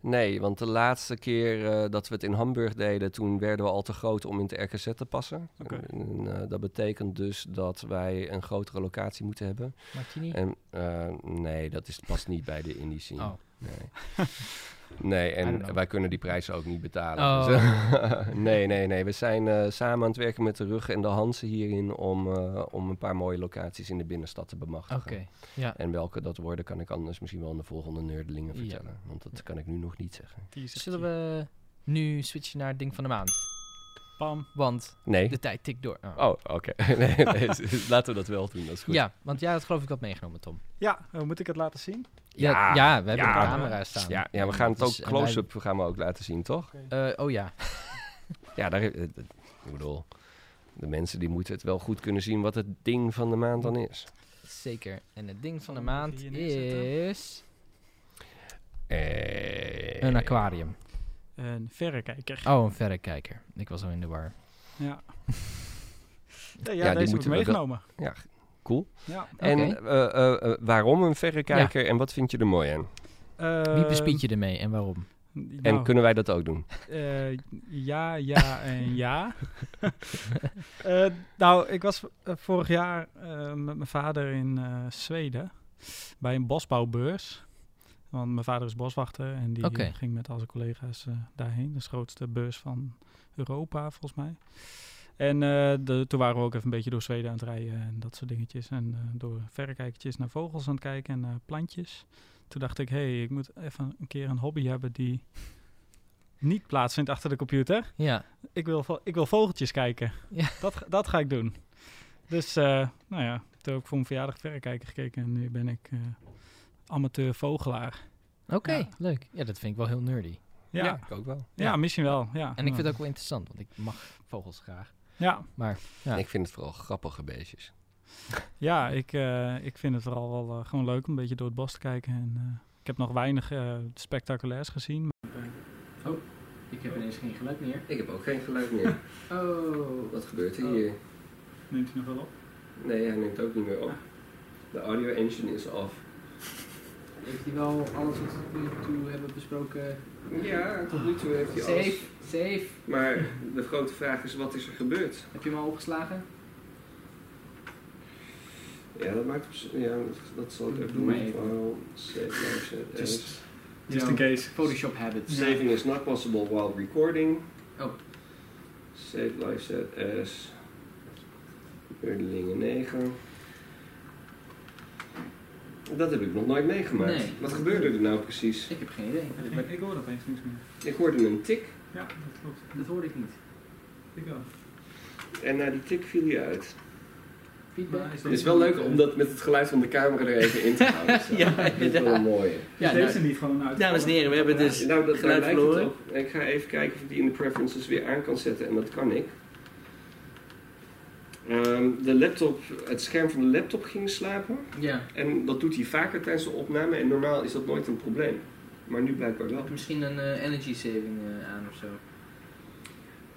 Nee, want de laatste keer eh, dat we het in Hamburg deden, toen werden we al te groot om in de RKZ te passen. Oké. En, eh, dat betekent dus dat wij een grotere locatie moeten hebben. Martini? En eh, nee, dat is, past niet bij de indie scene. Oh. Nee. Nee, I don't en know. wij kunnen die prijzen ook niet betalen. Oh. Dus, eh, nee, nee, nee. We zijn eh, samen aan het werken met de Rug en de Hansen hierin om, eh, om een paar mooie locaties in de binnenstad te bemachtigen. Oké. Ja. En welke dat worden, kan ik anders misschien wel in de volgende nerdelingen Ja. vertellen. Want dat kan ik nu nog niet zeggen. Teasertje. Zullen we nu switchen naar het ding van de maand? Pam. Want Nee. de tijd tikt door. Oh. Oh, oké. nee, nee, s- laten we dat wel doen, dat is goed. Ja, want jij had geloof ik wat meegenomen, Tom. Ja, eh, moet ik het laten zien? Ja, Ja, ja we hebben ja. een camera staan. Ja, ja, we gaan het ook Dus- en wij- close-up gaan we ook laten zien, toch? Eh, oh ja. Ja, daar, eh, eh, ik bedoel, de mensen die moeten het wel goed kunnen zien wat het ding van de maand dan is. Zeker. En het ding van de Zal ik hem maand even hier neerzetten? is... Eh, Een aquarium. Een verrekijker. Oh, een verrekijker. Ik was al in de war. Ja. Ja, ja, ja die deze heb ik moeten we wel- meegenomen. Cool. Ja. En eh, eh, eh, waarom een verrekijker en wat vind je er mooi aan? Wie Ehm. bespied je ermee en waarom? En Nou. nou, kunnen wij dat ook doen? Eh, ja, ja en ja. Eh, nou, ik was eh, vorig jaar eh, met mijn vader in eh, Zweden bij een bosbouwbeurs. Want mijn vader is boswachter en die Oké. ging met al zijn collega's eh, daarheen. Dat is de grootste beurs van Europa, volgens mij. En eh, de, toen waren we ook even een beetje door Zweden aan het rijden en dat soort dingetjes. En eh, door verrekijkertjes naar vogels aan het kijken en naar plantjes. Toen dacht ik, hé, hey, ik moet even een keer een hobby hebben die niet plaatsvindt achter de computer Ja. ik wil, vo- ik wil vogeltjes kijken. Ja. Dat, ga- dat ga ik doen. Dus, eh, nou ja, toen heb ik voor mijn verjaardag verrekijker gekeken en nu ben ik eh, amateur vogelaar. Oké, Ja. leuk. Ja, dat vind ik wel heel nerdy. Ja, ja, ik ook wel. misschien wel. Ja. En ik vind het ook wel interessant, want ik mag vogels graag. Ja, Ja. Ik vind het vooral grappige beestjes. ja ik, eh, ik vind het vooral wel eh, gewoon leuk om een beetje door het bos te kijken. En, eh, ik heb nog weinig eh, spectaculairs gezien. Ik heb ineens geen geluid meer. Ik heb ook geen geluid meer. Oh. Wat gebeurt er hier? Neemt u nog wel op? Nee, hij neemt ook niet meer op. De audio engine is af. Heeft hij wel alles wat we nu toe hebben besproken? Ja, tot nu toe heeft safe. Maar de grote vraag is, wat is er gebeurd? Heb je hem al opgeslagen? Ja, dat maakt op z- ja, dat zal ik Doe even doen. maar even. File, save, live, set, edit. case. Photoshop habits. Saving is not possible while recording. Oh. Save live set as Nerdelingen 9. Dat heb ik nog nooit meegemaakt. Nee. Wat gebeurde er nou precies? Ik heb geen idee. Ik, ik hoor opeens niks meer. Ik hoorde een tik Ja, dat klopt. Dat hoorde ik niet. Ik ook. en na die tik viel hij uit. Feedback? Maar is Het is eh, wel leuk om dat met het geluid van de camera er even in te houden. zo. Ja, dat is wel een mooie. Ja, deze nou, niet gewoon uit. dames en heren, we hebben dus... nou, dat, daar geluid lijkt het verloren. op. Ik ga even kijken of ik die in de preferences weer aan kan zetten en dat kan ik. Ehm, de laptop, het scherm van de laptop ging slapen Ja, en dat doet hij vaker tijdens de opname en normaal is dat nooit een probleem. Maar nu blijkbaar wel. misschien een eh, energy saving eh, aan of zo.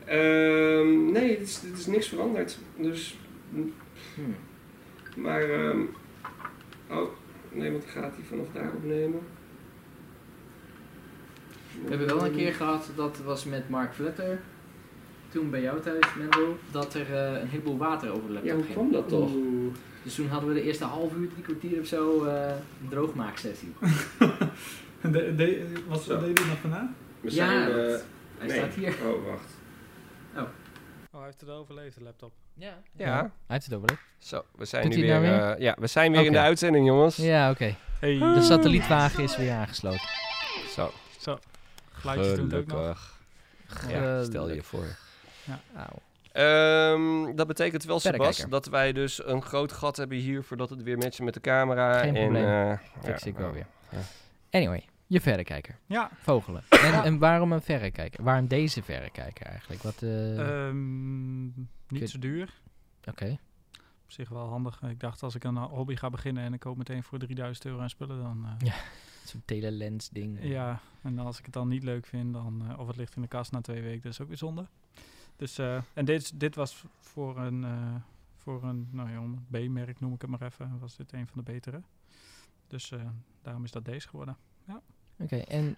Ehm, nee, het is, het is niks veranderd. Dus, Hmm. maar, ehm, oh, nee, want dan gaat hij vanaf daar opnemen. We hebben wel een keer gehad, dat was met Mark Vletter. Toen bij jou thuis, Mendel, dat er eh, een heleboel water over de laptop Ja, hoe ging. kwam dat toch? Dus toen hadden we de eerste half uur, drie kwartier of zo, eh, een droogmaaksessie. De, de, wat Zo. deden we nog vandaag? We Ja, zijn, eh, dat- Hij nee. staat hier. Oh, wacht. Oh, hij heeft het overleefd, de laptop. Ja. Ja. Hij heeft het overleefd. Zo, we zijn Doet nu hij weer, het nou eh, ja, we zijn weer in de Oké. uitzending, jongens. Ja, oké. Hey. De satellietwagen is weer aangesloten. Zo, Zo. Geluidjes doen het ook nog. gelukkig. Ja, stel je voor. Auw. Ehm, dat betekent wel, Sebas, Verrekijker. dat wij dus een groot gat hebben hier voordat het weer matchen met de camera. Geen en, probleem. eh, Fix ja, ik wel eh, weer. ja. nou. Anyway, je verrekijker. Ja, Vogelen. En, en waarom een verrekijker? Waarom deze verrekijker eigenlijk? Wat, eh, ehm, kun- niet zo duur. Oké. Op zich wel handig. Ik dacht, als ik een eh, hobby ga beginnen en ik koop meteen voor 3000 euro aan spullen, dan... eh, Zo'n telelens ding. Ja, en als ik het dan niet leuk vind, dan, eh, of het ligt in de kast na twee weken, dat is ook weer zonde. Dus, eh, en dit, dit was v- voor een, eh, voor een nou ja, een B-merk noem ik het maar even, was dit een van de betere. Dus eh, daarom is dat deze geworden. Oké, en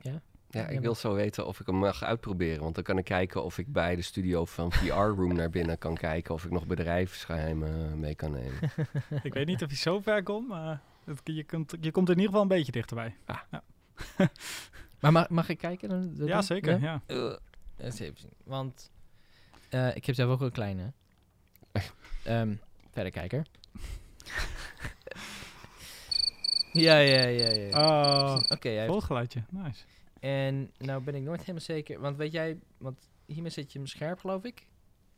Ja, ik Ja, wil zo weten of ik hem mag uitproberen. Want dan kan ik kijken of ik bij de studio van VR Room naar binnen kan kijken. Of ik nog bedrijfsgeheimen eh, mee kan nemen. ik weet niet of je zo ver komt, maar het- je, kunt, je komt er in ieder geval een beetje dichterbij. Maar mag, mag ik kijken? dan- dat Ja, doen? zeker. Ja? Eh, eens even zien. Want eh, ik heb zelf ook een kleine. Ehm verrekijker. ja, ja, ja, ja. ja. Oh, Oké, hij heeft- volgeluidje. Nice. en nou ben ik nooit helemaal zeker. Want weet jij, want hiermee zet je hem scherp, geloof ik.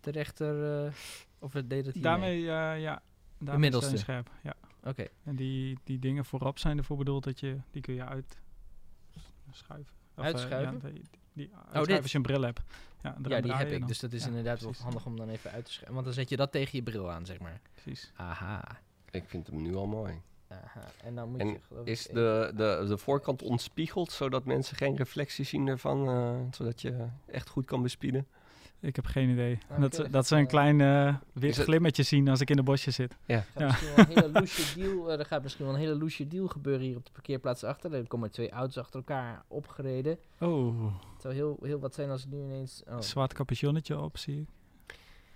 De rechter, eh, of het deed het hiermee? Daarmee, eh, ja, daarmee is middelste. hij scherp. Ja. Oké, En die, die dingen voorop zijn ervoor bedoeld dat je die kun je uit schuiven. Of, eh, Uitschuiven? Oh, ja, die, die uitschuiven dit. als je een bril hebt. Ja, ja, die heb ik. Dus Dus dat is Ja, inderdaad precies. wel handig om dan even uit te schermen. Want dan zet je dat tegen je bril aan, zeg maar. precies. Aha. Ik vind hem nu al mooi. Aha. En dan moet En je geloof Is ik- de, de, de voorkant ontspiegeld, zodat mensen geen reflectie zien ervan? eh, zodat je echt goed kan bespieden? Ik heb geen idee. Ah, Oké, dat, dan dat ze gaan een we- klein eh wit Is het- glimmetje zien als ik in de bosje zit. Gaat misschien wel een hele loesje deal, eh, er gaat misschien wel een hele loesje deal gebeuren hier op de parkeerplaats achter. Er komen twee auto's achter elkaar opgereden. Oh, Het zou heel, heel wat zijn als het nu ineens... Oh. zwart capuchonnetje op zie ik.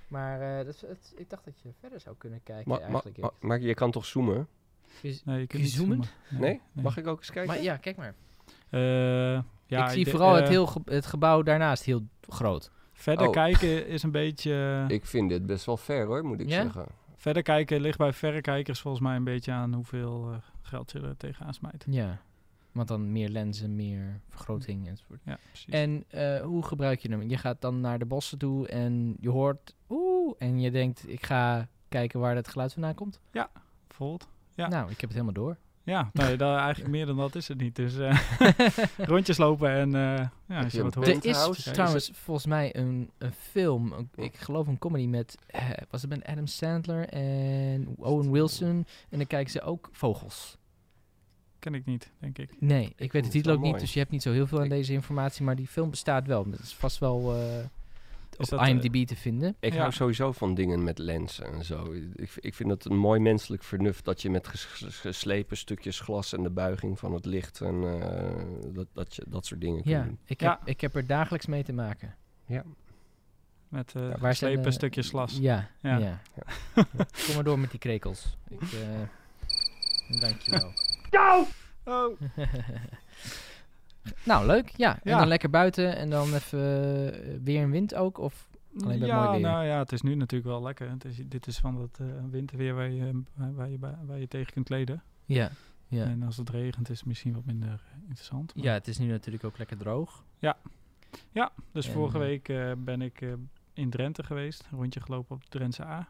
Maar eh, dat, het- ik dacht dat je verder zou kunnen kijken Ma- ma- eigenlijk. ma- maar je kan toch zoomen? Vis- Nee, je kunt je niet zoomen? Nee? Nee? Mag ik ook eens kijken? maar ja, kijk maar. Eh, ja, ik zie de- vooral het, eh, heel ge- het gebouw daarnaast heel groot. Verder Oh. kijken is een beetje... eh, Ik vind dit best wel ver hoor, moet ik Ja? zeggen. Verder kijken ligt bij verrekijkers volgens mij een beetje aan hoeveel eh, geld je er tegenaan smijt. Ja, want dan meer lenzen, meer vergroting enzovoort. Ja, precies. En eh, hoe gebruik je hem? Je gaat dan naar de bossen toe en je hoort oeh en je denkt ik ga kijken waar dat geluid vandaan komt. Volt. Ja. Nou, ik heb het helemaal door. Ja, nee, daar eigenlijk meer dan dat is het niet. Dus eh, rondjes lopen en eh, ja, als je je wat een pen? hoort. Er is Penthouse, hè? trouwens volgens mij een, een film, een- ik geloof een comedy met, eh, was het met Adam Sandler en Owen Wilson. En dan kijken ze ook vogels. Ken ik niet, denk ik. Nee, ik weet de het titel wel ook niet, mooi. dus je hebt niet zo heel veel aan Ik- deze informatie. Maar die film bestaat wel. Dat is vast wel eh, op dat, eh, IMDb te vinden. Ik Ja. hou sowieso van dingen met lenzen en zo. Ik, ik vind het een mooi menselijk vernuft dat je met ges- ges- geslepen stukjes glas en de buiging van het licht en eh, dat, dat, je, dat soort dingen Ja, kunt doen. ik, Ja. Heb, ik heb er dagelijks mee te maken. Met eh Waar zijn slepen de- stukjes slas. Ja, Ja. ja. Kom maar door met die krekels. Ik, eh dankjewel. Oh, nou, leuk. Ja, en Ja. dan lekker buiten en dan even eh, weer een wind ook. Of Alleen bij ja, mooi weer. nou ja, het is nu natuurlijk wel lekker. Het is, dit is van dat eh, winterweer waar je, eh, waar, je, bij- waar je tegen kunt kleden. Ja, ja. En als het regent is het misschien wat minder eh, interessant. maar- ja, het is nu natuurlijk ook lekker droog. Dus En, vorige eh, week eh, ben ik eh, in Drenthe geweest. Een rondje gelopen op de Drentse A.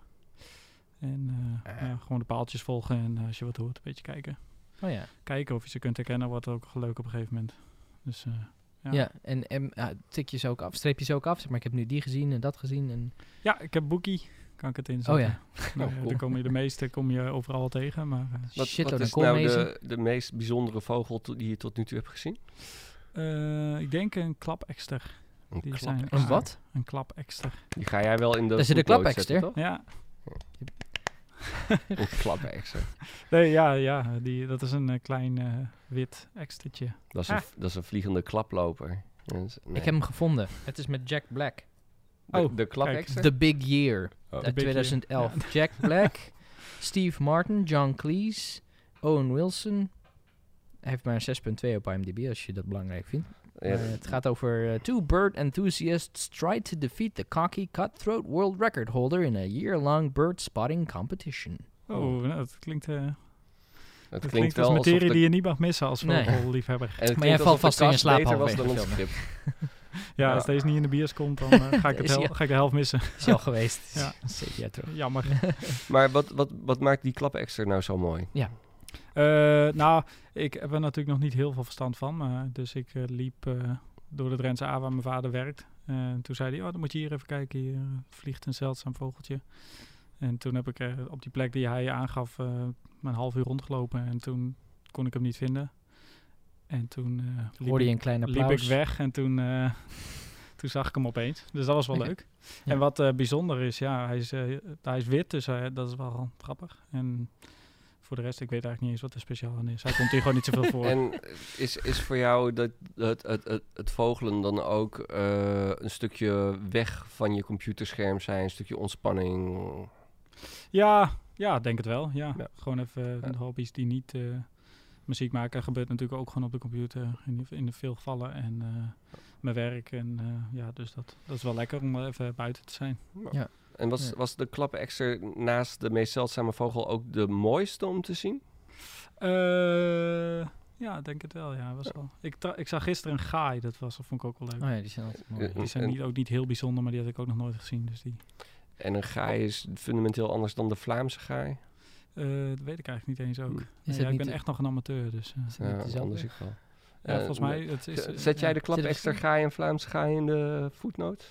En eh, Ah. ja, gewoon de paaltjes volgen en eh, als je wat hoort, een beetje kijken. Oh ja. Kijken of je ze kunt herkennen, wordt ook leuk op een gegeven moment. Dus eh, Ja, Ja. en, en ja, tik je ze ook af, streep je ze ook af. Zeg maar ik heb nu die gezien en dat gezien. En, ja, ik heb Bookie. Kan ik het inzetten? oh ja, Nou, Oh, ja, cool. Dan kom je de meeste kom je overal wel tegen. Maar eh, Wat, shit wat hoor, dan is kom nou deze. de, de meest bijzondere vogel to- die je tot nu toe hebt gezien? eh, ik denk een klapekster. Een Die klap- zijn- extra. Een wat? Een klapekster. Die ga jij wel in de Daar zit een footnote klapekster. zetten, toch? Ja, Een klapekster. nee, ja, ja die, dat is een eh, klein eh, wit Oh. ekstertje. Dat is, een, Ah. v- dat is een vliegende klaploper. Dat is- nee. Ik heb hem gevonden. Ah, Het is met Jack Black. de, Oh, de klapekster. The Big Year Oh. The uit Big Year. 2011. Jack Black, Steve Martin, John Cleese, Owen Wilson. Hij heeft maar een 6.2 op IMDb als je dat belangrijk vindt. Ja, Maar het gaat over eh, two bird enthusiasts tried to defeat the cocky cutthroat world record holder in a year-long bird spotting competition. Oh, Oh. nou, dat klinkt... eh, het Het klinkt klinkt als wel alsof materie de- die je niet mag missen als Nee. vogelliefhebber. en het Maar klinkt jij valt alsof de vast in je kast slaap beter was dan halverwege ons de film. script. Ja, Ja. als deze niet in de bios komt, dan eh, ga, ik het Is hel- ja. ga ik de helft missen. Is al geweest. Ja. Zeker ja, terug. Jammer. Maar wat, wat, wat maakt die klapekster nou zo mooi? Eh, nou, ik heb er natuurlijk nog niet heel veel verstand van. Maar, dus ik eh, liep eh, door de Drentse A waar mijn vader werkt. En toen zei hij, oh, dan moet je hier even kijken. Hier eh, vliegt een zeldzaam vogeltje. En toen heb ik eh, op die plek die hij aangaf, eh maar een half uur rondgelopen. En toen kon ik hem niet vinden. En toen eh, liep Hoorde ik- je een klein applaus. liep ik weg en toen, eh, toen zag ik hem opeens. Dus dat was wel Oké. leuk. Ja. En wat eh, bijzonder is, ja, hij is, eh, hij is wit, dus hij- dat is wel grappig. En voor de rest, ik weet eigenlijk niet eens wat er speciaal aan is. Hij komt hier gewoon niet zoveel voor. En eh, is, is voor jou dat, het, het, het, het vogelen dan ook eh, een stukje weg van je computerscherm zijn, een stukje ontspanning? Ja, ja, denk het wel. Ja. Ja. Gewoon even eh, Ja. hobby's die niet eh, muziek maken. gebeurt natuurlijk ook gewoon op de computer in, in veel gevallen. En eh, mijn werk. En eh, ja, dus dat, dat is wel lekker om wel even buiten te zijn. En was, Ja. was de klapekster naast de meest zeldzame vogel ook de mooiste om te zien? Eh, ja, ik denk het wel. Ja, was wel. Ik, tra- ik zag gisteren een gaai, dat was, dat vond ik ook wel leuk. Oh ja, die zijn altijd mooi. Eh, Die zijn en- niet, ook niet heel bijzonder, maar die had ik ook nog nooit gezien. Dus die, En een gaai is fundamenteel anders dan de Vlaamse gaai. eh, dat weet ik eigenlijk niet eens ook. Is Nee, het ja, ik niet ben een- echt nog een amateur, dus... eh, Is het Ja, niet dezelfde? anders ik wel. ja, Eh, volgens mij, het is... Z- eh, Zet jij ja. de klapekster gaai en Vlaamse gaai in de footnote?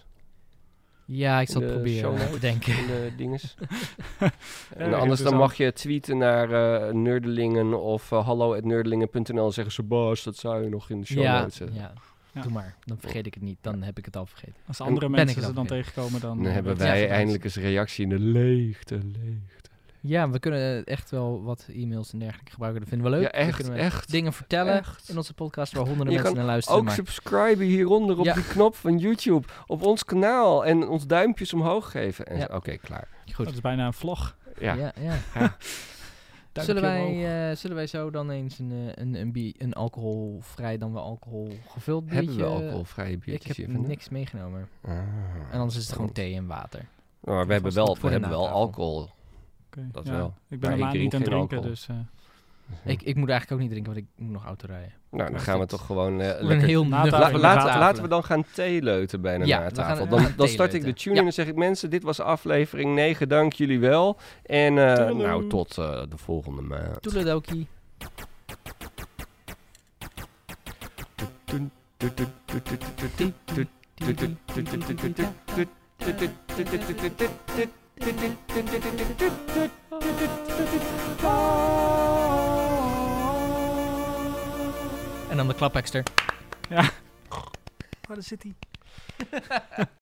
Ja, ik In zal het de proberen show eh, te notes. denken. in de dinges. en Ja, anders dan interessant. mag je tweeten naar eh nerdelingen of eh, hallo.nerdelingen.nl en zeggen ze Bas, dat zou je nog in de show Ja, notes zetten. ja, Ja. doe maar. Dan vergeet ik het niet. Dan heb ik het al vergeten. Als En andere ben ik mensen er ze dan dan tegenkomen, dan... Dan eh, hebben weet je wij het. eindelijk eens reactie in de leegte, leegte. Ja, we kunnen eh, echt wel wat e-mails en dergelijke gebruiken. Dat vinden we leuk. ja, Dan echt, kunnen we echt. dingen vertellen echt. in onze podcast waar honderden Je mensen kan naar luisteren. Ook maar- subscriben hieronder op Ja. die knop van YouTube, op ons kanaal en ons duimpjes omhoog geven. En Ja. zo- Oké, klaar. Goed. Dat is bijna een vlog. Ja. ja. ja. Duimpje Zullen wij, omhoog. eh, zullen wij zo dan eens een, eh, een, een, bier- een alcoholvrij, dan wel alcohol gevuld biertje? Hebben we alcoholvrije Ik biertjes heb hier vandaan? niks meegenomen. Ah. En anders is het gewoon thee en water. Nou, maar we hebben wel, Vast goed we voor de hebben wel natafel. alcohol. Nou, Oké, dat ja. wel. Ik Maar ben ik helemaal niet aan het drink geen drinken, alcohol. dus... eh, Mhm. Ik, ik moet eigenlijk ook niet drinken, want ik moet nog auto rijden. Nou, dan Maar gaan we goed. toch gewoon eh, Ik ben lekker heel Na nuchter. tafel. La- Laten we laat- tafelen. laten we dan gaan theeleuten bijna Ja, na we gaan- tafel. we Dan, gaan dan start ik de theeleuten. tune Ja. in en zeg ik mensen, dit was aflevering 9. Dank jullie wel. En eh, Toedeloe. nou, tot eh, de volgende maand. Toedeledokie. En dan de klapekster. Waar zit hij?